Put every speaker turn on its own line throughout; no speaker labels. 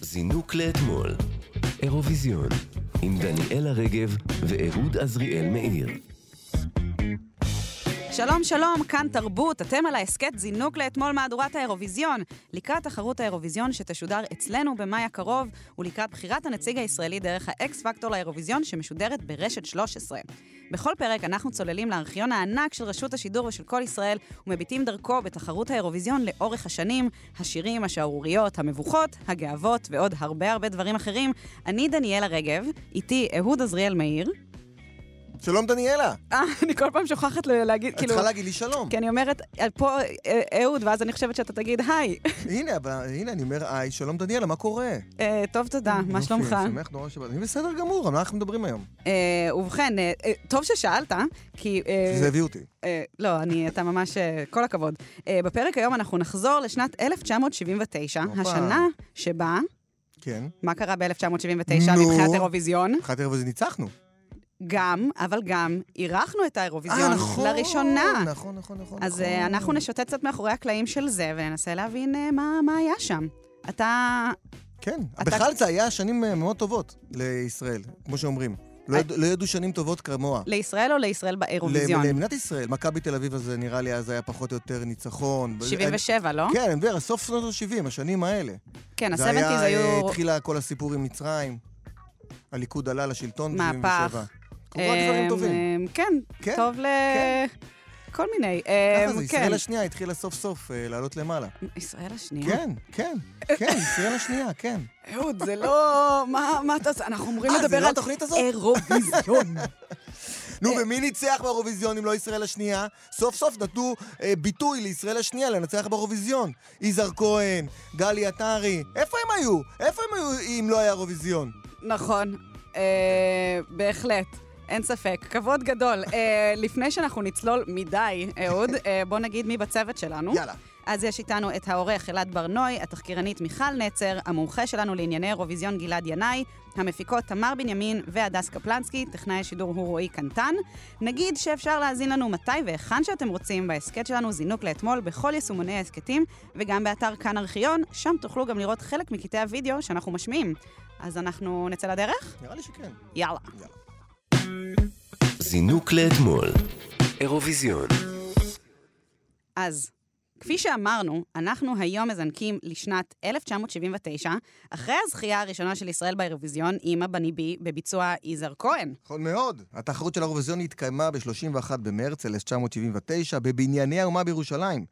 זינוק לאתמול, אירוויזיון, עם דניאלה רגב ואהוד עזריאל מאיר.
שלום, שלום, כאן תרבות, אתם על ההסכת זינוק לאתמול מהדורת האירוויזיון. לקראת תחרות האירוויזיון שתשודר אצלנו במאי הקרוב, ולקראת בחירת הנציג הישראלי דרך האקס פקטור לאירוויזיון שמשודרת ברשת 13. בכל פרק אנחנו צוללים לארכיון הענק של רשות השידור ושל כל ישראל, ומביטים דרכו בתחרות האירוויזיון לאורך השנים, השירים, השערוריות, המבוכות, הגאוות ועוד הרבה הרבה דברים אחרים. אני דניאלה רגב, איתי אהוד עזריאל מאיר.
שלום דניאלה,
אה, אני כל פעם שוכחת ל- להגיד,
את
כאילו...
צריכה להגיד לי שלום.
כי אני אומרת, אה, פה אה, אהוד, ואז אני חושבת שאתה תגיד, היי,
הנה, אבל- הנה, אני אומר, היי, שלום דניאלה, מה קורה?
אה, טוב, תודה, מה
יופי,
שלומך?
אוקיי, אני שמח נורא שבאת. אני בסדר גמור, על מה אנחנו מדברים היום?
אה, ובכן, אה, אה, טוב ששאלת, כי... אה,
זה הביא אותי.
אה, לא, אני, אתה ממש, אה, כל הכבוד. אה, בפרק היום אנחנו נחזור לשנת 1979,
הופה.
השנה שבה,
כן.
מה קרה ב-1979
נו.
מבחינת אירוויזיון?
אחת ערב הזה ניצחנו.
גם, אבל גם, אירחנו את האירוויזיון
אה, נכון.
לראשונה.
נכון, נכון, נכון.
אז
נכון.
אה, אנחנו נשוטט קצת מאחורי הקלעים של זה, וננסה להבין אה, מה מה היה שם. אתה...
כן. בכלל זה היה שנים אה, מאוד טובות לישראל, כמו שאומרים. לא
אה.
ידעו- לא ידעו שנים טובות כמוה.
לישראל או לישראל באירוויזיון?
ל- למדינת ישראל, מכבי תל אביב הזה נראה לי אז היה פחות או יותר ניצחון. ב-
77, לא?
כן, אני מדבר, סוף שנות ה-70, השנים האלה.
כן,
זה היה,
ה-70's
אה,
היו...
התחילה כל הסיפור עם מצרים. הליכוד עלה לשלטון ב-77.
מהפך.
קרו רק דברים
אמ,
טובים.
אמ, כן,
כן,
טוב ל...
כן.
כל מיני.
ככה
אמ,
זה,
כן.
ישראל השנייה התחילה סוף סוף אה, לעלות למעלה.
ישראל השנייה.
כן, כן, כן, ישראל השנייה, כן.
אהוד, זה לא... מה מה אתה עושה? אנחנו אמורים
אה, זה
לדבר
לא
על
התוכנית הזאת?
אירוויזיון.
נו,
אה.
ומי ניצח באירוויזיון אם לא ישראל השנייה? סוף סוף נתנו אה, ביטוי לישראל השנייה לנצח באירוויזיון. יזהר כהן, גלי עטרי, איפה הם היו? איפה הם היו אם לא היה אירוויזיון?
נכון, אה, בהחלט. אין ספק, כבוד גדול. אה, לפני שאנחנו נצלול מדי, אהוד, אה, בוא נגיד מי בצוות שלנו.
יאללה.
אז יש איתנו את העורך אלעד ברנוי, התחקירנית מיכל נצר, המומחה שלנו לענייני אירוויזיון גלעד ינאי, המפיקות תמר בנימין והדס קפלנסקי, טכנאי השידור הוא רועי קנטן. נגיד שאפשר להאזין לנו מתי והיכן שאתם רוצים בהסכת שלנו זינוק לאתמול בכל יישומוני ההסכתים, וגם באתר כאן ארכיון, שם תוכלו גם לראות חלק מקטעי הוידאו שאנחנו משמיעים. אז אנחנו נצא לדרך?
נראה לי שכן.
יאללה.
זינוק לאתמול, אירוויזיון,
אז, כפי שאמרנו, אנחנו היום מזנקים לשנת 1979, אחרי הזכייה הראשונה של ישראל באירוויזיון, עם הבני בי, בביצוע יזהר כהן.
נכון מאוד. התחרות של האירוויזיון התקיימה ב-31 במרץ 1979 בבנייני האומה בירושלים,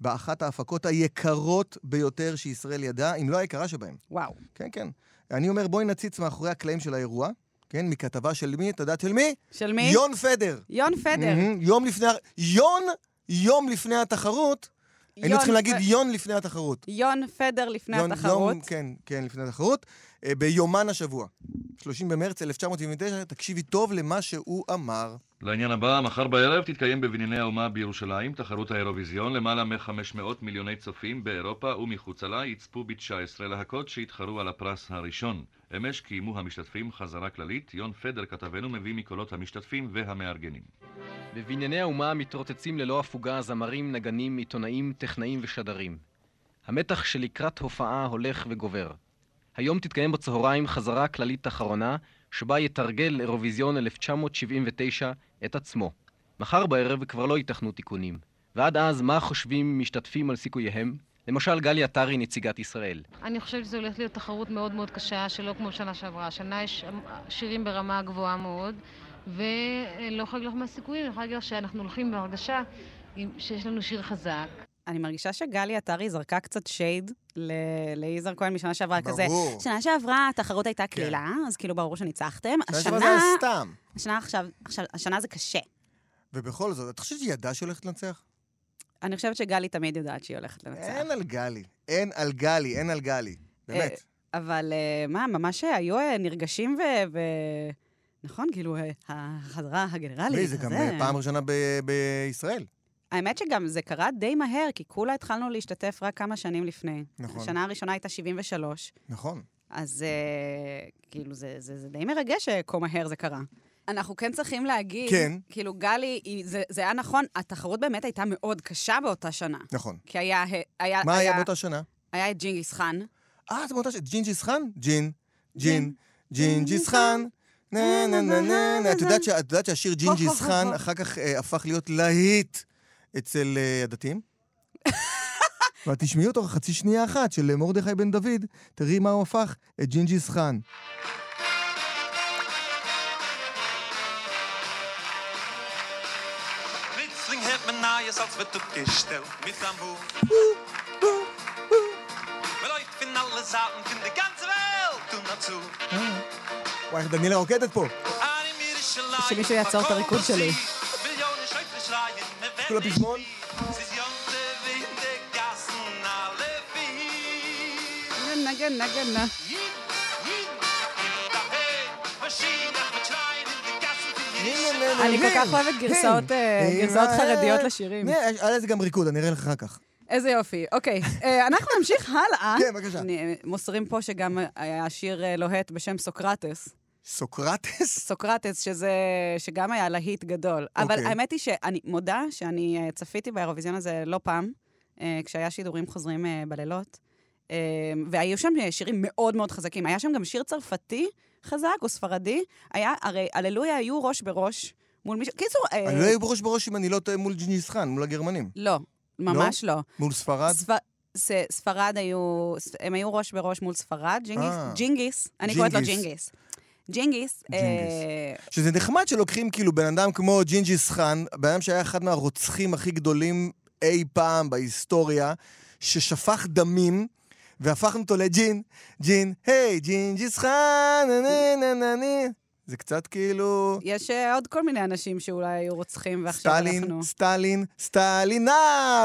באחת ההפקות היקרות ביותר שישראל ידעה, אם לא היקרה שבהן.
וואו.
כן, כן. אני אומר, בואי נציץ מאחורי הקלעים של האירוע, כן? מכתבה של מי? את יודעת של מי?
של מי?
יון פדר.
יון פדר.
מהמם. יום לפני... ה- יון, יום לפני התחרות. היינו
יון
צריכים להגיד
פ-
יון לפני התחרות.
יון פדר לפני
יון-
התחרות.
יום- כן, כן, לפני התחרות. אה, ביומן השבוע. 30 במרץ 1979, תקשיבי טוב למה שהוא אמר.
לעניין הבא, מחר בערב תתקיים בבנייני האומה בירושלים תחרות האירוויזיון. למעלה מ-500 מיליוני צופים באירופה ומחוצה לה יצפו ב-19 להקות שהתחרו על הפרס הראשון. אמש קיימו המשתתפים חזרה כללית. יון פדר כתבנו מביא מקולות המשתתפים והמארגנים.
בבנייני האומה מתרוצצים ללא הפוגה זמרים, נגנים, עיתונאים, טכנאים ושדרים. המתח שלקראת הופעה הולך וגובר. היום תתקיים בצהריים חזרה כללית אחרונה, שבה יתרגל אירוויזיון 1979 את עצמו. מחר בערב כבר לא ייתכנו תיקונים. ועד אז, מה חושבים משתתפים על סיכוייהם? למשל, גלי עטרי, נציגת ישראל.
אני חושבת שזו הולכת להיות תחרות מאוד מאוד קשה, שלא כמו שנה שעברה. השנה יש שירים ברמה גבוהה מאוד, ולא יכולה להגיד לך מה הסיכויים, אני יכולה להגיד לך שאנחנו הולכים בהרגשה עם- שיש לנו שיר חזק.
אני מרגישה שגלי עטרי זרקה קצת שייד ל- ליזהר כהן משנה שעברה, כזה.
ברור. כן.
שנה שעברה התחרות הייתה קלילה, אז כאילו ברור שניצחתם.
שנה
השנה,
שעברה זה היה סתם.
השנה עכשיו, עכשיו, השנה זה קשה.
ובכל זאת, את חושבת שהיא ידעה שהיא הולכת לנצח?
אני חושבת שגלי תמיד יודעת שהיא הולכת לנצח.
אין על גלי. אין על גלי, אין על גלי.
אה,
באמת.
אבל אה, מה, ממש היו אה, נרגשים ו... ו... נכון, כאילו, אה, החזרה הגנרלית.
תראי, זה גם אה, פעם ראשונה ב- בישראל.
האמת שגם זה קרה די מהר, כי כולה התחלנו להשתתף רק כמה שנים לפני.
נכון.
השנה הראשונה הייתה 73,
נכון.
אז אה, כאילו, זה, זה, זה די מרגש שכה מהר זה קרה. אנחנו כן צריכים להגיד,
כן.
כאילו, גלי, היא- זה, זה היה נכון, התחרות באמת הייתה מאוד קשה באותה שנה.
נכון.
כי אה, היה, היה,
מה היה באותה שנה?
היה את ג'ינגיס חאן,
אה, זה מאותה ש... ג'ינג'יס חאן? ג'ין. ג'ין. ג'ינג'יס חאן. נה נה נה נה נה. את יודעת שה- את יודעת שהשיר ג'ינג'יס חאן אחר כך אה, הפך להיות להיט אצל אה, הדתיים? ואת תשמעי אותו חצי שנייה אחת של אה, מרדכי בן דוד, תראי מה הוא הפך את ג'ינג'יס חאן.
Ritsling heeft mijn naaien als we op gestel met tamboer. Maar ooit in alle zaten in de ganze wereld toen naartoe.
וואי, איך דניאלה רוקדת פה.
Aan in Middelschelijn.
שמישהו יעצור את הריקוד שלי.
Millionen Schöpfenschreien, mir werden
כולם פזמון?
nicht Sie jonte in de gassen alle vier.
גנה, גנה, גנה.
Yin, yin, daher, Maschine, mit Schreien in de gassen, die er hier nicht
אני כל כך אוהבת גרסאות, אה, גרסאות חרדיות לשירים.
היה לזה אה, גם ריקוד, אני אראה לך אחר כך.
איזה יופי. אוקיי, אה, אנחנו נמשיך הלאה.
כן, בבקשה.
אני, אה, מוסרים פה שגם היה שיר אה, לוהט בשם סוקרטס.
סוקרטס?
סוקרטס, שזה, שגם היה להיט גדול. אבל
אוקיי.
האמת היא שאני מודה שאני אה, צפיתי באירוויזיון הזה לא פעם, אה, כשהיה שידורים חוזרים אה, בלילות, אה, והיו שם אה, שירים מאוד מאוד חזקים. היה שם גם שיר צרפתי חזק או ספרדי, היה, הרי הללויה היו ראש בראש מול מישהו, קיצור... אה,
אני לא אהיה בראש בראש אם אני לא טועה מול ג'ינג'יס חאן, מול הגרמנים.
לא, ממש לא.
מול ספרד.
ספ... ס... ספרד היו, ס- הם היו ראש בראש מול ספרד, ג'ינגיס,
אה.
ג'ינגיס, אני קוראת לו
ג'ינגיס.
ג'ינגיס. ג'ינגיס,
ג'ינגיס.
אה,
שזה נחמד שלוקחים כאילו בן אדם כמו ג'ינג'יס חאן, בן אדם שהיה אחד מהרוצחים הכי גדולים אי פעם בהיסטוריה, ששפך דמים. והפכנו אותו לג'ין, ג'ין, היי, ג'ינג'יס חאן, נה נה נה נה נה. זה קצת כאילו...
יש אה, עוד כל מיני אנשים שאולי היו רוצחים, ועכשיו
סטלין,
אנחנו...
סטלין, סטלינה,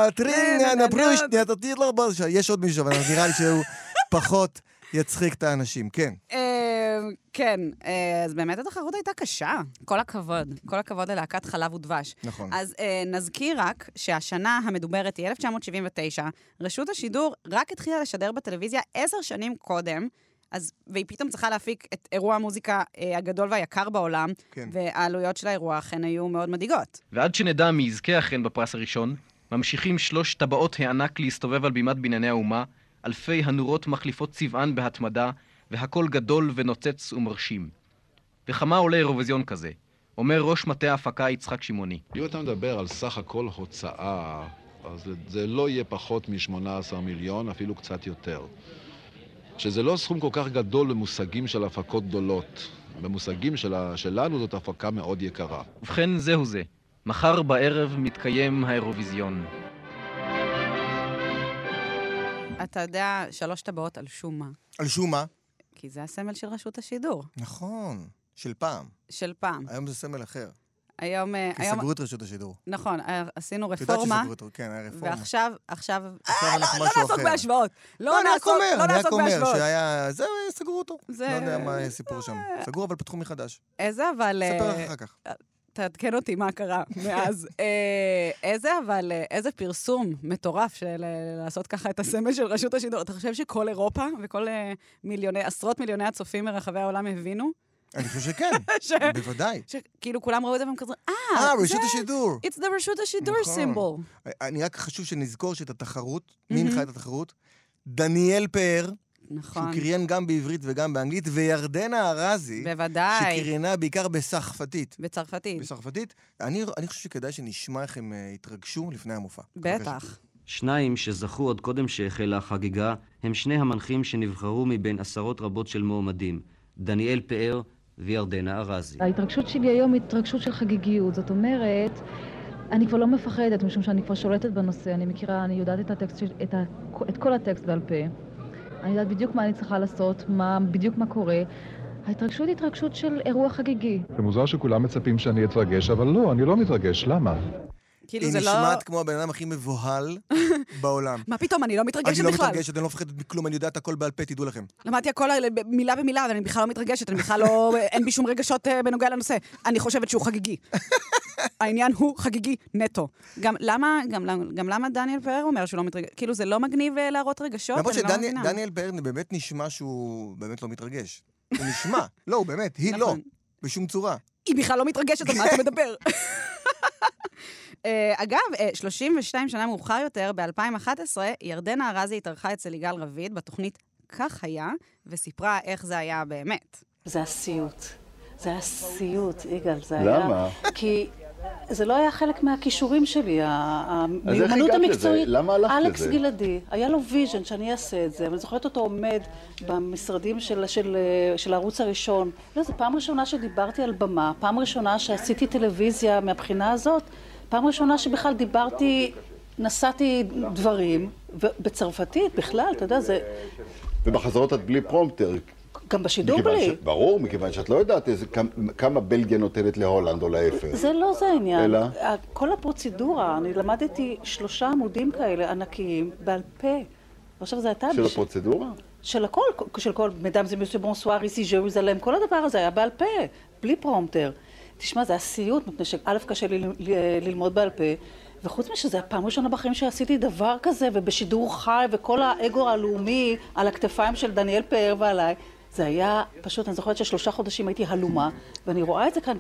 נה,
טרינה,
נה,
נברושניה, תתיר לך בראש. יש עוד מישהו, אבל נראה לי שהוא פחות יצחיק את האנשים, כן.
אה, כן, אה, אז באמת התחרות הייתה קשה. כל הכבוד. כל הכבוד ללהקת חלב ודבש.
נכון.
אז אה, נזכיר רק שהשנה המדוברת היא 1979. רשות השידור רק התחילה לשדר בטלוויזיה עשר שנים קודם. אז, והיא פתאום צריכה להפיק את אירוע המוזיקה אה, הגדול והיקר בעולם,
כן.
והעלויות של האירוע אכן היו מאוד מדאיגות.
ועד שנדע מי יזכה אכן בפרס הראשון, ממשיכים שלוש טבעות הענק להסתובב על בימת בנייני האומה, אלפי הנורות מחליפות צבען בהתמדה, והכל גדול ונוצץ ומרשים. וכמה עולה אירוויזיון כזה? אומר ראש מטה ההפקה יצחק שמעוני.
אם אתה מדבר על סך הכל הוצאה, אז זה לא יהיה פחות מ-18 מיליון, אפילו קצת יותר. שזה לא סכום כל כך גדול במושגים של הפקות גדולות. במושגים שלה, שלנו זאת הפקה מאוד יקרה.
ובכן, זהו זה. מחר בערב מתקיים האירוויזיון.
אתה יודע, שלוש טבעות על שום מה,
על שום מה?
כי זה הסמל של רשות השידור,
נכון, של פעם.
של פעם.
היום זה סמל אחר.
היום... אה,
אה, כי
היום
סגרו את רשות השידור.
נכון, אה, עשינו
את יודעת
רפורמה.
שסגרו את- כן, היה רפורמה.
ועכשיו, עכשיו...
עכשיו
אה, לא,
אנחנו
לא
משהו
נעסוק
אחר.
בהשוואות. לא
אני רק
נעסוק
אומר,
לא
אני רק
נעסוק
אומר
בהשוואות.
שהיה... זהו, סגרו אותו.
זה-
לא יודע מה הסיפור שם. סגרו, אבל פתחו מחדש.
איזה אבל... אה,
ספר לך אחר כך.
תעדכן אותי מה קרה מאז. אה, איזה אבל, אה, איזה פרסום מטורף של אה, לעשות ככה את הסמל של רשות השידור. אתה חושב שכל אירופה וכל אה, מיליוני, עשרות מיליוני הצופים מרחבי העולם הבינו?
אני חושב שכן,
ש-
בוודאי.
שכאילו כולם ראו את זה והם כזה, אה,
אה,
זה-
רשות השידור.
It's the רשות השידור
נכון.
סימבול.
אני רק חשוב שנזכור שאת התחרות, מי הנחה את התחרות? דניאל פאר, שהוא
נכון.
קריין גם בעברית וגם באנגלית, וירדנה ארזי,
בוודאי.
שקריינה בעיקר בסחפתית.
בצרפתית.
בסחפתית? אני אני חושב שכדאי שנשמע איך הם אה, התרגשו לפני המופע. בבקשה.
בטח.
שניים שזכו עוד קודם שהחלה החגיגה הם שני המנחים שנבחרו מבין עשרות רבות של מועמדים, דניאל פאר וירדנה ארזי.
ההתרגשות שלי היום היא התרגשות של חגיגיות. זאת אומרת, אני כבר לא מפחדת, משום שאני כבר שולטת בנושא. אני מכירה, אני יודעת את, הטקסט, של- את, ה, את כל הטקסט בעל פה. אני יודעת בדיוק מה אני צריכה לעשות, מה, בדיוק מה קורה. ההתרגשות היא התרגשות של אירוע חגיגי.
זה מוזר שכולם מצפים שאני אתרגש, אבל לא, אני לא מתרגש, למה?
כאילו
היא
זה לא...
נשמעת כמו הבן אדם הכי מבוהל בעולם.
מה פתאום, אני לא
אני
מתרגשת
לא
בכלל.
מתרגשת, אני לא מפחדת מכלום, אני יודעת הכל בעל פה, תדעו לכם.
למדתי הכל על- ב- מילה במילה, אבל אני בכלל לא מתרגשת, אני בכלל לא... אין בי שום רגשות אה, בנוגע לנושא. אני חושבת שהוא חגיגי. העניין הוא חגיגי נטו. גם למה, גם, למ- גם למה דניאל פאר אומר שהוא לא מתרגש? כאילו, זה לא מגניב אה, להראות רגשות?
למרות
אני לא מבינה.
שדניאל פאר באמת נשמע שהוא באמת לא מתרגש. הוא נשמע. לא, הוא באמת, היא לא.
נכון.
בשום צורה.
היא בכלל לא מתרגשת, על מה אתה מדבר? אה, אגב, אה, 32 שנה מאוחר יותר, ב-2011, ירדנה ארזי התארחה אצל יגאל רביד בתוכנית כך היה, וסיפרה איך זה היה באמת.
זה הסיוט. זה היה סיוט, יגאל, זה היה... למה? כי זה לא היה חלק מהכישורים שלי, ה-
הגעת
המיומנות
לזה?
המקצועית.
למה הלכת
אלכס
לזה?
גלעדי, היה לו ויז'ן שאני אעשה את זה, אבל אני זוכרת אותו עומד במשרדים של, של, אה, של הערוץ הראשון. לא, זו פעם ראשונה שדיברתי על במה, פעם ראשונה שעשיתי טלוויזיה מהבחינה הזאת, פעם ראשונה שבכלל דיברתי, נשאתי דברים, ו- בצרפתית בכלל, אתה יודע, זה...
ובחזרות את בלי פרומפטר.
גם בשידור
מכיוון
בלי.
ש- ברור, מכיוון שאת לא יודעת איזה, כמה- כמה בלגיה נותנת להולנד או להפך.
זה לא זה העניין.
אלא?
ה- כל הפרוצדורה, אני למדתי שלושה עמודים כאלה ענקיים, בעל פה. עכשיו זה הייתה...
של
בש-
הפרוצדורה?
של הכל, של כל מדאם זה מיוסי בונסואר, איסי ז'רוזלם, כל הדבר הזה היה בעל פה, בלי פרומטר. תשמע, זה היה סיוט, מפני שא' קשה לי ל- ל- ללמוד בעל פה, וחוץ מזה, זו הפעם הראשונה בחיים שעשיתי דבר כזה, ובשידור חי, וכל האגו הלאומי על הכתפיים של דניאל פאר ועליי. זה היה פשוט, אני זוכרת ששלושה חודשים הייתי הלומה, ואני רואה את זה כאן,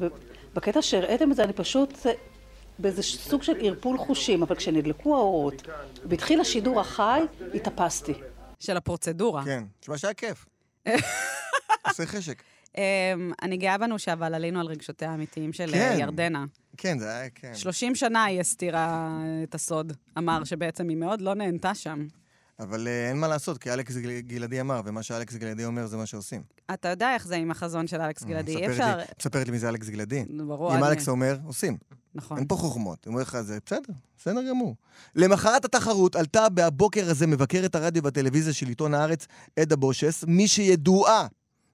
בקטע שהראיתם את זה, אני פשוט, באיזה סוג של ערפול חושים, אבל כשנדלקו האורות, והתחיל השידור החי, התאפסתי.
של הפרוצדורה.
כן, תשמע שהיה כיף. עושה חשק.
אמ, אני גאה בנו אבל עלינו על רגשותיה האמיתיים של
כן.
אה, ירדנה.
כן, זה היה, כן.
30 שנה היא הסתירה את הסוד. אמר שבעצם היא מאוד לא נהנתה שם.
אבל אה, אין מה לעשות, כי אלכס גל- גלעדי אמר, ומה שאלכס גלעדי אומר זה מה שעושים.
אתה יודע איך זה עם החזון של אלכס גלעדי, אי
מספרת
אפשר...
אה, לי- מספרת לי מי זה אלכס גלעדי.
נו, ברור,
אם
אני-
אלכס אומר, עושים.
נכון.
אין פה חוכמות. אומר לך, זה בסדר, בסדר גמור. למחרת התחרות עלתה בבוקר הזה מבקרת הרדיו והטלוויזיה של עיתון הארץ, עדה בושס, מי שידועה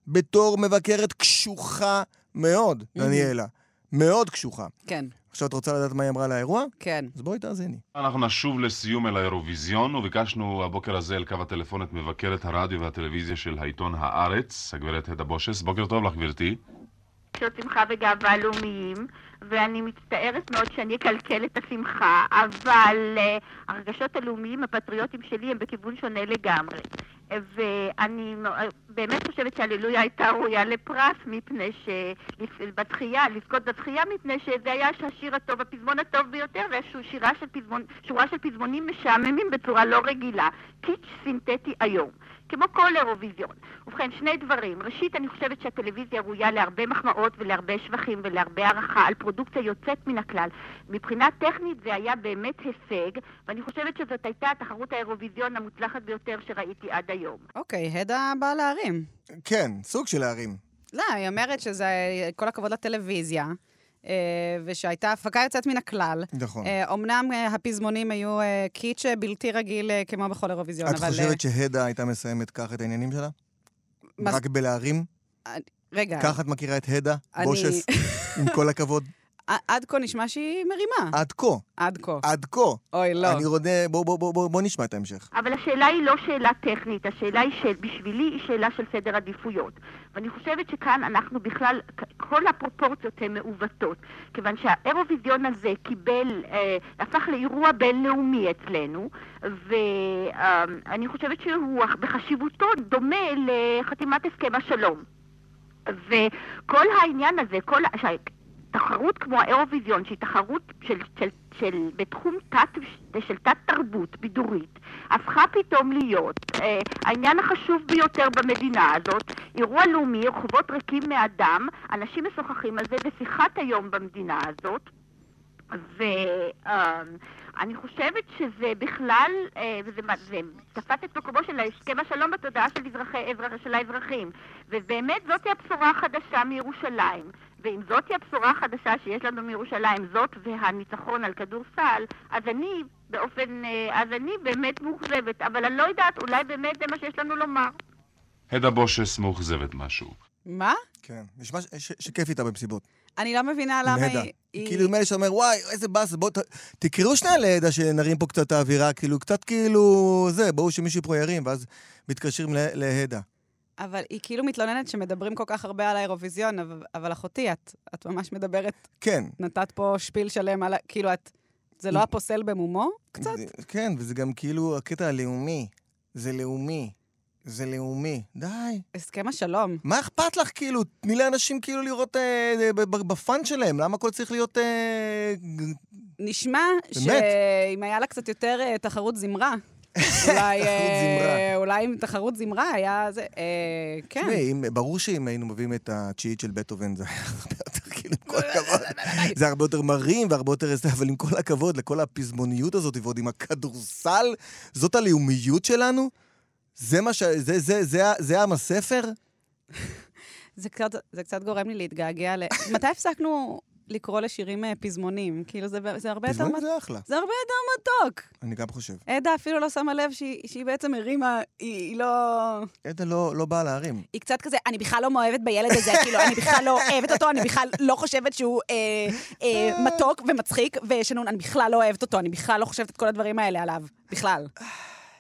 בתור מבקרת קשוחה מאוד, דניאלה. מאוד קשוחה.
כן,
עכשיו את רוצה לדעת מה היא אמרה על האירוע?
כן.
אז בואי תאזיני.
אנחנו נשוב לסיום אל האירוויזיון, וביקשנו הבוקר הזה אל קו הטלפון את מבקרת הרדיו והטלוויזיה של העיתון הארץ, הגברת הדה בושס. בוקר טוב לך, גברתי.
חדשות שמחה וגאווה לאומיים, ואני מצטערת מאוד שאני אקלקל את השמחה, אבל uh, הרגשות הלאומיים הפטריוטיים שלי הם בכיוון שונה לגמרי. אה, ואני נו- אה, באמת חושבת שהללויה הייתה ראויה לפרס, מפני ש... לפ- בתחייה, לזכות בתחייה, מפני שזה היה השיר הטוב, הפזמון הטוב ביותר, והיא שירה של פזמון, שורה של פזמונים משעממים בצורה לא רגילה. קיץ' סינתטי איום. כמו כל אירוויזיון. ובכן, שני דברים. ראשית, אני חושבת שהטלוויזיה ראויה להרבה מחמאות ולהרבה שבחים ולהרבה הערכה על פרודוקציה יוצאת מן הכלל. מבחינה טכנית זה היה באמת הישג, ואני חושבת שזאת הייתה תחרות האירוויזיון המוצלחת ביותר שראיתי עד היום.
אוקיי, הדה באה להרים.
כן, סוג של להרים.
לא, היא אומרת שזה כל הכבוד לטלוויזיה, אה, ושהייתה הפקה יוצאת מן הכלל.
נכון.
אה, אומנם אה, הפזמונים היו אה, קיץ' אה, בלתי רגיל אה, כמו בכל אירוויזיון,
את
אבל... אה,
חושבת שהדה הייתה מסיימת כך את העניינים שלה?
מה-
רק בלהרים?
רגע,
ככה את מכירה את הדה?
אני-
בושס? עם כל הכבוד.
ע- עד כה נשמע שהיא מרימה.
עד כה.
עד כה.
עד כה.
אוי, לא.
אני רודה... בוא, בוא, בוא, בוא, בוא נשמע את ההמשך.
אבל השאלה היא לא שאלה טכנית, השאלה היא שבשבילי היא שאלה של סדר עדיפויות. ואני חושבת שכאן אנחנו בכלל, כ- כל הפרופורציות הן מעוותות, כיוון שהאירוויזיון הזה קיבל, אה, הפך לאירוע בינלאומי אצלנו, ואני חושבת שהוא בחשיבותו דומה לחתימת הסכם השלום. וכל העניין הזה, כל... תחרות כמו האירוויזיון, שהיא תחרות של, של, של, בתחום תת, של תת-תרבות בידורית, הפכה פתאום להיות אה, העניין החשוב ביותר במדינה הזאת, אירוע לאומי, רחובות ריקים מאדם, אנשים משוחחים על זה, זה שיחת היום במדינה הזאת. ואני חושבת שזה בכלל, אה, וזה מה- זה תפס את מקומו של הסכם השלום בתודעה של, אזרחי, אזרח, של האזרחים. ובאמת זאתי הבשורה החדשה מירושלים. ואם זאתי הבשורה החדשה שיש לנו מירושלים, זאת והניצחון על כדורסל, אז אני באופן, אה, אז אני באמת מאוכזבת. אבל אני לא יודעת, אולי באמת זה מה שיש לנו לומר.
הדה בושס מאוכזבת משהו.
מה?
כן. נשמע ש- ש- שכיף איתה במסיבות.
אני לא מבינה למה
עם הדה.
היא... היא-
כאילו, נדמה לי שאתה אומר, וואי, איזה באס, בוא, ת... תקראו שנייה לעדה שנרים פה קצת את האווירה, כאילו, קצת כאילו, זה, ברור שמישהו פה ירים, ואז מתקשרים ל- להדה.
אבל היא כאילו מתלוננת שמדברים כל כך הרבה על האירוויזיון, אבל- אבל אחותי, את, את ממש מדברת,
כן.
נתת פה שפיל שלם על... ה- כאילו, את... זה לא הפוסל במומו? קצת?
זה- כן, וזה גם כאילו הקטע הלאומי. זה לאומי. זה לאומי. די.
הסכם השלום.
מה אכפת לך, כאילו? תני לאנשים כאילו לראות אה, אה, ב- ב- בפאן שלהם, למה הכל צריך להיות... אה, ג-
נשמע
באמת?
שאם היה לה קצת יותר אה, תחרות זמרה, אולי, אה,
זמרה.
אולי עם תחרות זמרה היה זה... אה, כן.
תשמעי, אם- ברור שאם היינו מביאים את התשיעית של בטהובן, זה היה הרבה יותר, כאילו, עם כל
לא,
הכבוד, זה הרבה יותר מרים והרבה יותר זה, אבל עם כל הכבוד לכל הפזמוניות הזאת, ועוד עם הכדורסל, זאת הלאומיות שלנו? זה מה ש... זה, זה, זה, ה- זה עם הספר?
זה קצת, זה קצת גורם לי להתגעגע ל... מתי הפסקנו לקרוא לשירים אה, פזמונים? כאילו, זה, זה הרבה יותר...
פזמונים
מת-
זה אחלה.
זה הרבה יותר מתוק.
אני גם חושב.
עדה אפילו לא שמה לב שהיא, שהיא בעצם הרימה, היא, היא לא...
עדן לא, לא באה להרים.
היא קצת כזה, אני בכלל לא מאוהבת בילד הזה, כאילו, אני בכלל לא אוהבת אותו, אני בכלל לא חושבת שהוא אה, אה, מתוק ומצחיק ושנון, אני בכלל לא אוהבת אותו, אני בכלל לא חושבת את כל הדברים האלה עליו, בכלל.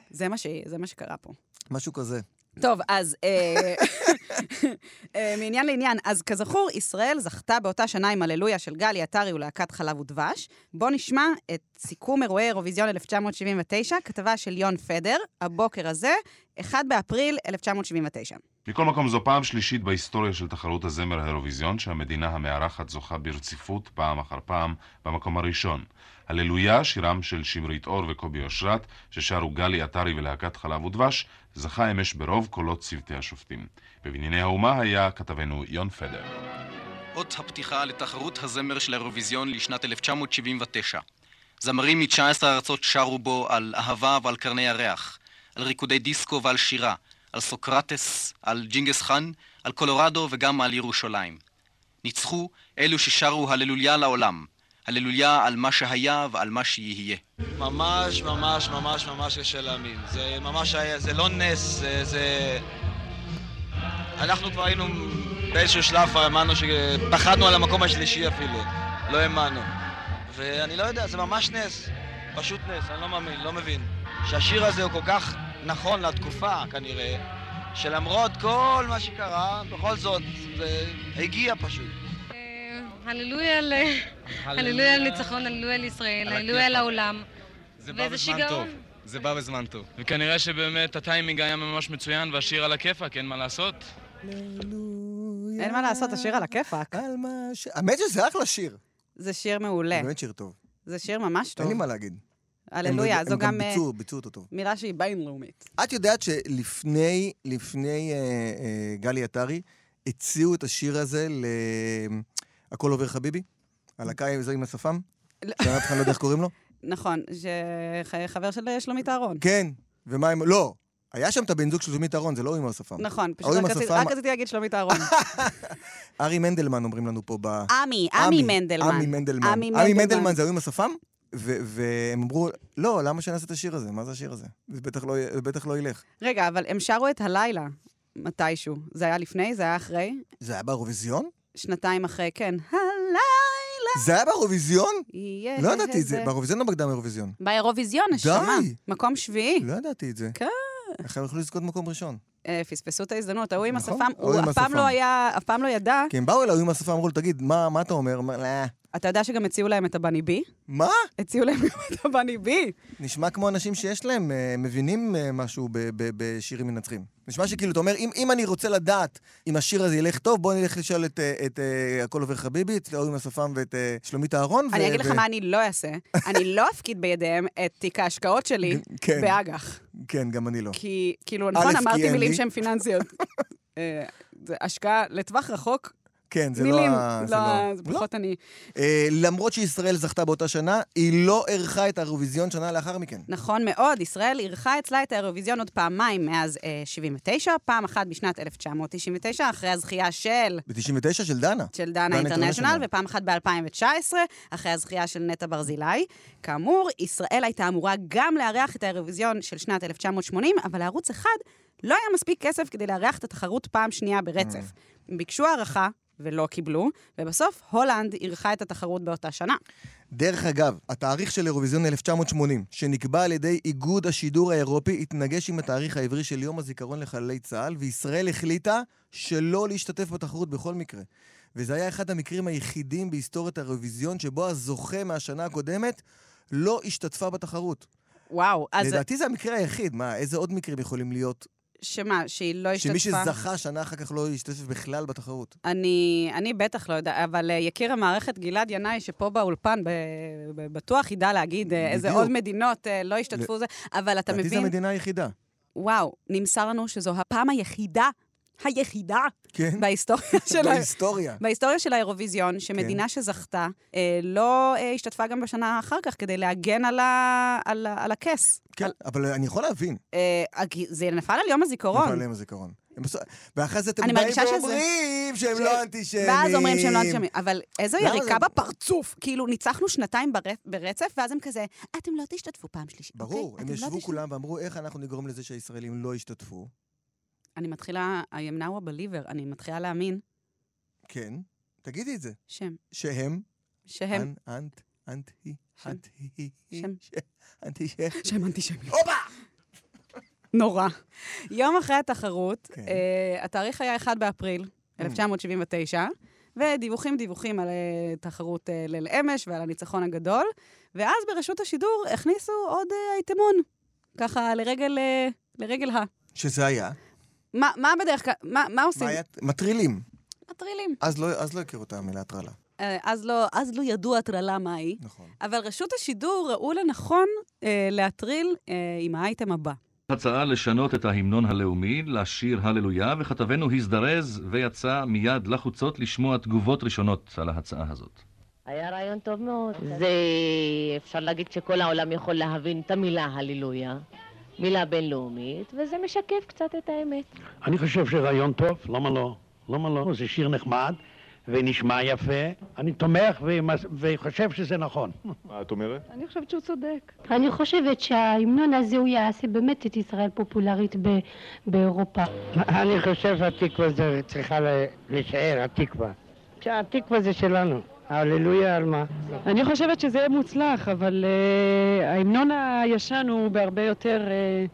זה מה, ש... זה מה שקרה פה.
משהו כזה.
טוב, אז אה, אה, מעניין לעניין. אז כזכור, ישראל זכתה באותה שנה עם הללויה של גלי עטרי ולהקת חלב ודבש. בואו נשמע את סיכום אירועי אירוויזיון 1979, כתבה של יון פדר, הבוקר הזה, 1 באפריל 1979.
מכל מקום זו פעם שלישית בהיסטוריה של תחרות הזמר האירוויזיון שהמדינה המארחת זוכה ברציפות פעם אחר פעם במקום הראשון. הללויה, שירם של שמרית אור וקובי אושרת, ששרו גלי עטרי ולהקת חלב ודבש, זכה אמש ברוב קולות צוותי השופטים. בבנייני האומה היה כתבנו יון פדר.
אות הפתיחה לתחרות הזמר של האירוויזיון לשנת 1979. זמרים מ-19 ארצות שרו בו על אהבה ועל קרני ירח, על ריקודי דיסקו ועל שירה, על סוקרטס, על ג'ינגס חאן, על קולורדו וגם על ירושלים. ניצחו אלו ששרו הללויה לעולם, הללויה על מה שהיה ועל מה שיהיה.
ממש ממש ממש ממש קשה להאמין. זה ממש היה, זה לא נס, זה... זה... אנחנו כבר היינו באיזשהו שלב, כבר האמנו ש... פחדנו על המקום השלישי אפילו. לא האמנו. ואני לא יודע, זה ממש נס. פשוט נס, אני לא מאמין, לא מבין. שהשיר הזה הוא כל כך נכון לתקופה, כנראה, שלמרות כל מה שקרה, בכל זאת, זה הגיע פשוט.
אה, הללויה על... הללויה על ניצחון, הללויה על ישראל,
על
הללויה על
הכיפאק.
העולם.
זה בא
ואיזה
בזמן
שיגעון.
טוב. זה בא בזמן טוב. וכנראה שבאמת הטיימינג היה ממש מצוין והשיר על הכיפאק, אין מה לעשות.
אין מה לעשות, השיר על הכיפאק.
על מה ש... האמת שזה אחלה שיר.
זה שיר מעולה.
זה באמת שיר טוב.
זה שיר ממש כן. טוב.
אין לי מה להגיד.
הללויה,
הם-
זו
הם
גם... אה,
ביצעו, ביצעו אותו טוב.
מילה שהיא בינלאומית.
את יודעת שלפני לפני, אה, אה, גלי עטרי הציעו את השיר הזה ל... הכל עובר חביבי? הלהקה עם זה עם השפם? שאף אחד לא יודע איך קוראים לו?
נכון, שחבר של אה, שלומית אהרון.
כן, ומה עם... לא. היה שם את הבן זוג של שלומית אהרון, זה לא הוא עם השפם.
נכון, פשוט
ההוא עם
רק רציתי-
השפם-
רק רציתי להגיד שלומית אהרון.
ארי מנדלמן אומרים לנו פה ב...
עמי, אה, עמי מנדלמן.
עמי מנדלמן.
עמי
עמי
מנדלמן.
מנדלמן זה ההוא עם השפם? ו- והם אמרו, לא, למה שנעשה את השיר הזה? מה זה השיר הזה? זה בטח לא יהיה- זה בטח לא ילך.
רגע, אבל הם שרו את הלילה מתישהו. זה היה לפני? זה היה אחרי?
זה היה באירוויזיון?
שנתיים אחרי, כן. הלילה
זה היה באירוויזיון?
יהיה...
לא ידעתי את זה. באירוויזיון או בקדם אירוויזיון?
באירוויזיון, נשמה. מקום שביעי.
לא ידעתי את זה.
כן.
איך הם יכלו לזכות במקום ראשון?
אה, פספסו את ההזדמנות. ההוא עם
נכון,
השפם,
ההוא
הוא
עם
אף פעם
השפם.
לא היה, אף פעם לא ידע.
כי הם באו אליו עם השפה, אמרו לו, תגיד, מה מה אתה אומר? הוא אמר, "לא."
אתה יודע שגם הציעו להם את הבני בי?
מה?
הציעו להם גם את הבני בי.
נשמע כמו אנשים שיש להם, אה, מבינים אה, משהו ב- ב- בשירים מנצחים. נשמע שכאילו, אתה אומר, אם, אם אני רוצה לדעת אם השיר הזה ילך טוב, בוא נלך לשאול את, אה, את אה, הכל עובר חביבי, את אורי מהשפם ואת אה, שלומית אהרון. ו-
אני אגיד לך
ו-
מה אני לא אעשה. אני לא אפקיד בידיהם את תיק ההשקעות שלי
כן.
באג"ח.
כן, גם אני לא.
כי, כאילו,
א',
נכון,
כי
אמרתי
אין
מילים
לי.
שהן פיננסיות. אה, זה השקעה לטווח רחוק.
כן, זה
מילים,
לא... ה- זה
לא ה- זה
לא.
פחות אני.
אה, למרות שישראל זכתה באותה שנה, היא לא אירחה את האירוויזיון שנה לאחר מכן.
נכון מאוד, ישראל אירחה אצלה את האירוויזיון עוד פעמיים מאז אה, 79, פעם אחת בשנת 1999, אחרי הזכייה של...
ב-99 של דנה.
של דנה אינטרנשיונל, ופעם אחת ב-2019, אחרי הזכייה של נטע ברזילי. כאמור, ישראל הייתה אמורה גם לארח את האירוויזיון של שנת 1980, אבל לערוץ אחד לא היה מספיק כסף כדי לארח את התחרות פעם שנייה ברצף.
Mm.
הם ביקשו הערכה ולא קיבלו, ובסוף הולנד אירחה את התחרות באותה שנה.
דרך אגב, התאריך של אירוויזיון 1980, שנקבע על ידי איגוד השידור האירופי, התנגש עם התאריך העברי של יום הזיכרון לחללי צה"ל, וישראל החליטה שלא להשתתף בתחרות בכל מקרה. וזה היה אחד המקרים היחידים בהיסטוריית האירוויזיון שבו הזוכה מהשנה הקודמת לא השתתפה בתחרות.
וואו, אז...
לדעתי זה המקרה היחיד, מה, איזה עוד מקרים יכולים להיות?
שמה, שהיא לא השתתפה?
שמי שזכה שנה אחר כך לא השתתף בכלל בתחרות.
אני, אני בטח לא יודעת, אבל אה, יקיר המערכת גלעד ינאי, שפה באולפן ב, ב, בטוח ידע להגיד בדיוק. איזה
בדיוק.
עוד מדינות אה, לא השתתפו
ל-
זה, אבל אתה
לדעתי זו
מבין,
המדינה היחידה.
וואו, נמסר לנו שזו הפעם היחידה, היחידה,
כן?
בהיסטוריה של... ה-
בהיסטוריה. כן.
בהיסטוריה של האירוויזיון, שמדינה שזכתה אה, לא אה, השתתפה גם בשנה אחר כך כדי להגן על, ה, על, ה- על הכס.
כן, אבל אני יכול להבין.
אה, הגי- זה נפל על יום הזיכרון.
נפל להם הזיכרון. הם בסוף- ואחרי זה אתם
אני
באים
מרגישה שזה-
ואומרים שהם לא אנטישמים.
ואז אומרים שהם לא אנטישמים. אבל איזו
למה
יריקה
זה-
בפרצוף. כאילו, ניצחנו שנתיים ברצ- ברצף, ואז הם כזה, אתם לא תשתתפו פעם שלישית.
ברור,
אוקיי?
הם
אתם לא
ישבו
תשת-
כולם ואמרו, איך אנחנו נגרום לזה שהישראלים לא ישתתפו?
אני מתחילה, I am now a believer, אני מתחילה להאמין
כן, תגידי את זה.
שהם,
שהם?
שהם,
אנ- אנט, אנטי, אנטי,
שם.
אנטי,
שהם אנטישמים. הופה! נורא. יום אחרי התחרות,
כן.
אה, התאריך היה 1 באפריל
Mm.
1979, ודיווחים דיווחים על אה, תחרות אה, ליל אמש ועל הניצחון הגדול, ואז ברשות השידור הכניסו עוד אה, אייטמון, ככה לרגל, אה, לרגל ה...
שזה היה.
מה, מה בדרך כלל, מה, מה עושים?
מה היה? מטרילים.
מטרילים.
אז לא- אז לא הכירו את המילה הטרלה.
אה, אז לא, אז לא ידוע הטרלה מהי.
נכון.
אבל רשות השידור ראו לנכון אה, להטריל אה, עם האייטם הבא.
הצעה לשנות את ההמנון הלאומי לשיר הללויה, וכתבנו הזדרז ויצא מיד לחוצות לשמוע תגובות ראשונות על ההצעה הזאת.
היה רעיון טוב מאוד. זה, אפשר להגיד שכל העולם יכול להבין את המילה הללויה, מילה בינלאומית, וזה משקף קצת את האמת.
אני חושב שרעיון טוב, למה לא? למה לא? זה שיר נחמד ונשמע יפה. אני תומך ומס- וחושב שזה נכון. מה את אומרת?
אני חושבת שהוא צודק.
אני חושבת שההמנון הזה הוא יעשה באמת את ישראל פופולרית ב- באירופה.
אני חושב שהתקווה זה צריכה ל- להישאר, התקווה. שהתקווה זה שלנו. הללויה על מה?
אני חושבת שזה יהיה מוצלח, אבל uh, ההמנון הישן הוא בהרבה יותר... Uh,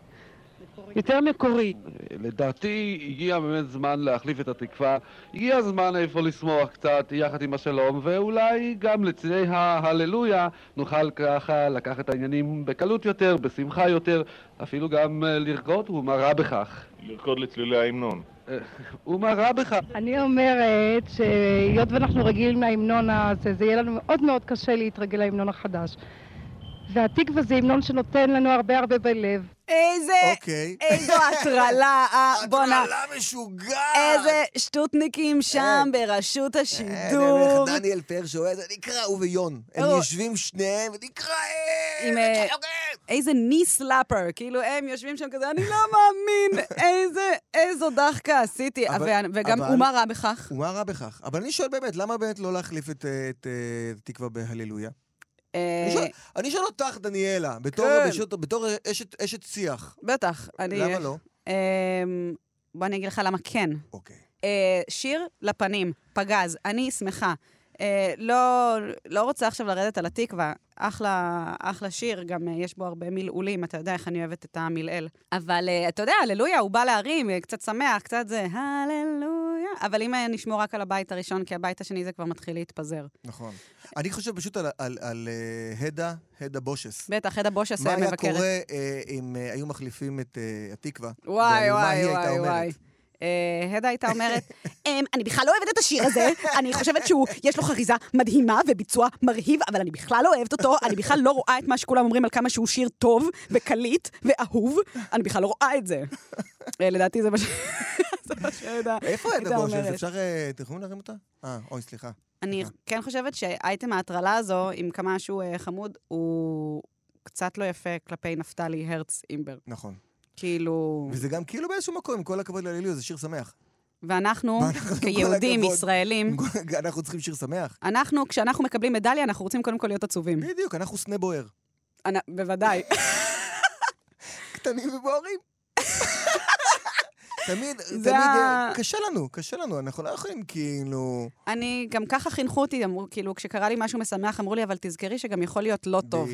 יותר מקורי.
לדעתי הגיע באמת זמן להחליף את התקווה, הגיע הזמן איפה לשמוח קצת יחד עם השלום, ואולי גם לצידי ההללויה נוכל ככה לקחת את העניינים בקלות יותר, בשמחה יותר, אפילו גם אה, לרקוד, ומה רע בכך? לרקוד לצלילי ההמנון. ומה רע בכך?
אני אומרת שהיות ואנחנו רגילים להמנון הזה, זה יהיה לנו מאוד מאוד קשה להתרגל להמנון החדש. והתקווה זה המנון שנותן לנו הרבה הרבה בלב.
איזה...
אוקיי.
איזו הטרלה, אה, בואנה.
הטרלה משוגעת.
איזה שטותניקים שם ברשות
אני אומר
השידור.
לך, דניאל פרשו, איזה נקרא, הוא ויון. הם
הוא-
יושבים שניהם, ונקרא,
לא. עם אה, איזה ני סלאפר, כאילו הם יושבים שם כזה, אני לא מאמין, איזה, איזו דחקה עשיתי.
אבל-
ואני- וגם,
אבל-
ומה רע בכך?
ומה רע בכך? אבל אני שואל באמת, למה באמת לא להחליף את אה, את, אה, תקווה בהללויה? אני שואל- אני שואל אותך, דניאלה, בתור-
אה. כן.
בשעות- בתור אשת- אשת שיח.
בטח, אני...
למה לא?
אמ, בוא אני אגיד לך למה כן.
אוקיי.
אה, שיר לפנים, פגז, אני שמחה. אה, לא, לא רוצה עכשיו לרדת על התקווה, אחלה, אחלה שיר, גם אה, יש בו הרבה מלעולים, אתה יודע איך אני אוהבת את המלעיל. אבל אה, אתה יודע, הללויה, הוא בא להרים, אה, קצת שמח, קצת זה, הללויה. אבל אם אה, נשמור רק על הבית הראשון, כי הבית השני זה כבר מתחיל להתפזר.
נכון. אני חושב פשוט על- על- על אה, הדה, הדה בושס.
בטח, עדה בושס
מה
אה,
היה
מבקרת.
קורה אה, אם אה, היו מחליפים את אה, התקווה?
וואי,
ועל מה
וואי,
היא הייתה
וואי,
אומרת?
וואי. אה, הדה הייתה אומרת, "אמ, אני בכלל לא אוהבת את השיר הזה, אני חושבת שהוא, יש לו חריזה מדהימה וביצוע מרהיב, אבל אני בכלל לא אוהבת אותו, אני בכלל לא רואה את מה שכולם אומרים על כמה שהוא שיר טוב וקליט ואהוב, אני בכלל לא רואה את זה. אה, לדעתי זה מה ש... זה מה שהדה
איפה
הייתה
הדה בושס?
אומרת.
אפשר, אה, אתם יכולים להרים אותה? אה, אוי, סליחה.
אני כן חושבת שאייטם ההטרלה הזו, עם כמה שהוא אה, חמוד, הוא קצת לא יפה כלפי נפתלי הרץ אימבר.
נכון.
כאילו...
וזה גם כאילו באיזשהו מקום, עם כל הכבוד להללויה, זה שיר שמח.
ואנחנו,
עם כל
כיהודים,
הכבוד-
ישראלים,
עם כל- אנחנו צריכים שיר שמח.
אנחנו, כשאנחנו מקבלים מדליה, אנחנו רוצים קודם כל להיות עצובים.
בדיוק, אנחנו סנה בוער.
בוודאי.
קטנים ובוערים. תמיד,
זה
תמיד,
ה-
אה, קשה לנו, קשה לנו, אנחנו לא יכולים כאילו...
אני, גם ככה חינכו אותי, אמרו, כאילו, כשקרה לי משהו משמח, אמרו לי, אבל תזכרי שגם יכול להיות לא טוב.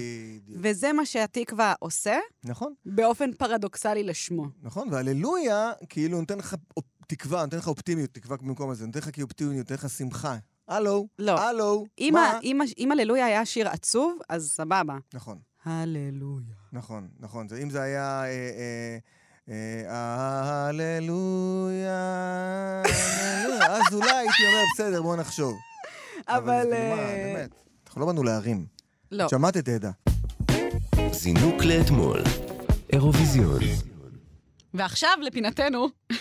וזה מה שהתקווה עושה,
נכון.
באופן פרדוקסלי לשמו.
נכון, והללויה, כאילו, נותן לך אופ- תקווה, נותן לך אופטימיות, תקווה במקום הזה, נותן לך כאילו אופטימיות, נותן לך שמחה. הלו,
לא.
הלו,
אם
מה?
ה- אם ה- אם הללויה היה שיר עצוב, אז סבבה.
נכון.
הללויה.
נכון, נכון. זה, אם זה היה... אה, אה, אה, הללויה, הללויה, אז אולי הייתי אומר, בסדר, בואו נחשוב.
אבל...
כאילו, מה,
אה,
באמת, אנחנו לא באנו להרים.
לא.
שמעת את עדה.
זינוק לאתמול, אירוויזיון.
ועכשיו לפינתנו,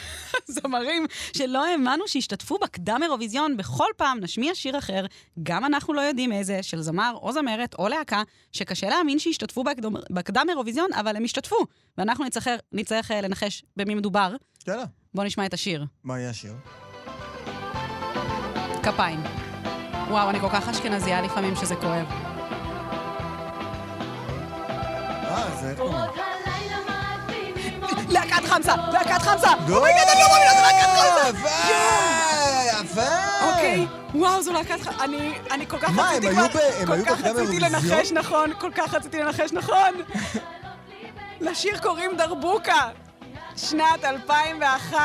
זמרים שלא האמנו שהשתתפו בקדם אירוויזיון, בכל פעם נשמיע שיר אחר, גם אנחנו לא יודעים איזה, של זמר או זמרת או להקה, שקשה להאמין שהשתתפו בקדום, בקדם אירוויזיון, אבל הם השתתפו, ואנחנו נצטרך, נצטרך אה, לנחש במי מדובר.
יאללה.
בואו נשמע את השיר.
מה יהיה השיר?
כפיים. וואו, אני כל כך אשכנזייה לפעמים שזה כואב.
אה,
Oh
זה...
להקת חמסה! להקת חמסה!
אומייגד,
אני לא מאמינה, זה להקת חמסה!
יואו! יפה!
אוקיי, וואו, זו להקת חמסה. אני אני כל כך
אה. מה, הם
רציתי
היו ב- הם
כל
היו
כך
בקדם
רציתי
אירוויזיון?
לנחש נכון, כל כך רציתי לנחש נכון. לשיר קוראים דרבוקה, שנת 2001.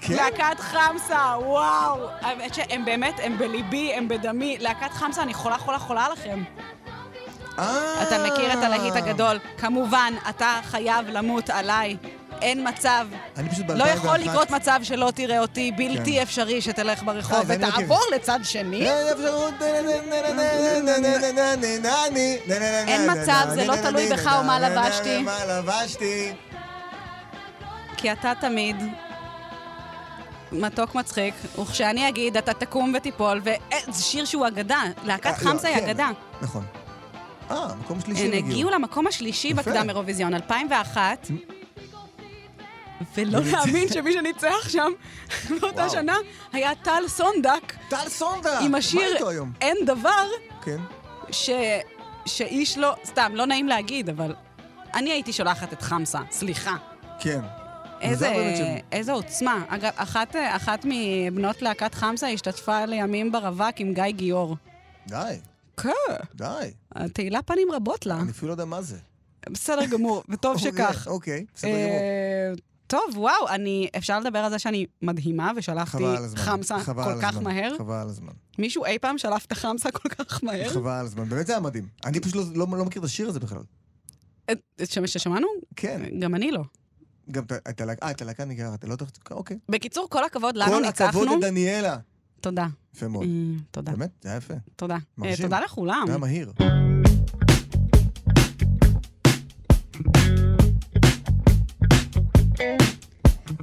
כן?
להקת חמסה, וואו. האמת שהם באמת, הם בליבי, הם בדמי. להקת חמסה, אני חולה, חולה, חולה עליכם.
אה!
אתה מכיר את הלהיט הגדול. כמובן, אתה חייב למות עליי. אין מצב.
אני פשוט
לא
ב-2001
יכול לקרות מצב שלא תראה אותי, בלתי
כן. אה,
אפשרי שתלך ברחוב
אז אני מכיר.
ותעבור לצד שני.
אה.
אין מצב, זה לא תלוי בך ומה לבשתי.
מה לבשתי?
כי אתה תמיד מתוק מצחיק, וכשאני אגיד, אתה תקום ותיפול, וזה שיר שהוא אגדה.
אה,
להקת
לא,
חמסה היא
כן.
אגדה.
נכון. אה, מקום שלישי
הם
הם
הגיעו למקום השלישי
יפה.
בקדם אירוויזיון, 2001. ולא להאמין שמי שניצח שם באותה
וואו.
שנה היה טל סונדק.
טל סונדק!
עם
מה
השיר
איתו היום?
אין דבר,
כן.
ש... שאיש לא... סתם, לא נעים להגיד, אבל אני הייתי שולחת את חמסה, סליחה.
כן.
איזה,
מוזר באמת ש-
איזה עוצמה. אגב, אחת, אחת מבנות להקת חמסה השתתפה לימים ברווק עם גיא גיאור.
די.
כן.
די.
תהילה פנים רבות לה.
אני אפילו לא יודע מה זה.
בסדר גמור, וטוב
אוקיי,
שכך.
אוקיי, בסדר
אה,
גמור.
טוב, וואו, אני... אפשר לדבר על זה שאני מדהימה ושלחתי
חבל על הזמן.
חמסה
חבל
כל
על
כך
הזמן,
מהר?
חבל על הזמן.
מישהו אי פעם שלף את החמסה כל כך מהר?
חבל על הזמן. באמת זה היה מדהים. אני פשוט לא- לא לא מכיר את השיר הזה בכלל.
את- את שמש ששמענו?
כן.
גם אני לא.
גם את- את הלהקה, אה, את הלהקה נגררת, אתה לא תחת... אוקיי.
בקיצור, כל הכבוד לנו, ניצחנו.
כל הכבוד לדניאלה.
תודה.
יפה מאוד.
אה, תודה.
באמת, זה היה יפה.
תודה. אה,
מרשים.
תודה לכולם.
זה היה מהיר.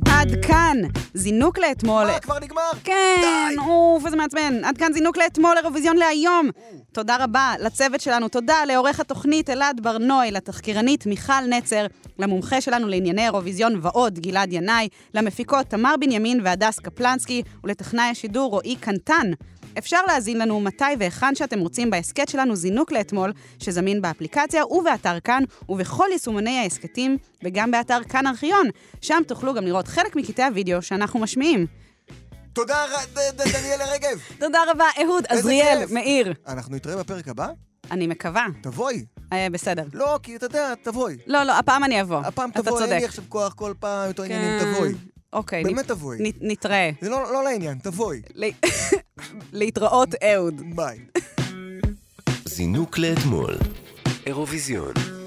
עד כאן, זינוק לאתמול.
מה, אה, כבר נגמר?
כן, אוף, איזה מעצבן. עד כאן זינוק לאתמול, אירוויזיון להיום. תודה רבה לצוות שלנו, תודה לעורך התוכנית אלעד ברנוי, לתחקירנית מיכל נצר, למומחה שלנו לענייני אירוויזיון ועוד, גלעד ינאי, למפיקות תמר בנימין והדס קפלנסקי, ולטכנאי השידור רועי קנטן. אפשר להזין לנו מתי והיכן שאתם רוצים בהסכת שלנו זינוק לאתמול, שזמין באפליקציה ובאתר כאן, ובכל יישומני ההסכתים, וגם באתר כאן ארכיון. שם תוכלו גם לראות חלק מקטעי הוידאו שאנחנו משמיעים.
תודה, ר- ד- ד- דניאלה רגב.
תודה רבה, אהוד,
איזה
עזריאל,
כיף.
מאיר.
אנחנו נתראה בפרק הבא?
אני מקווה.
תבואי.
אה, בסדר.
לא, כי אתה יודע, תבואי.
לא, לא, הפעם אני אבוא.
הפעם
אתה
תבואי, אין לי
צודק.
עכשיו כוח כל פעם, יותר
כן.
עניינים, תבואי.
אוקיי.
באמת
נת-
תבואי.
נת- נתראה.
זה לא לא לעניין, תבואי.
ל- להתראות, אהוד.
ביי.
זינוק לאתמול, אירוויזיון.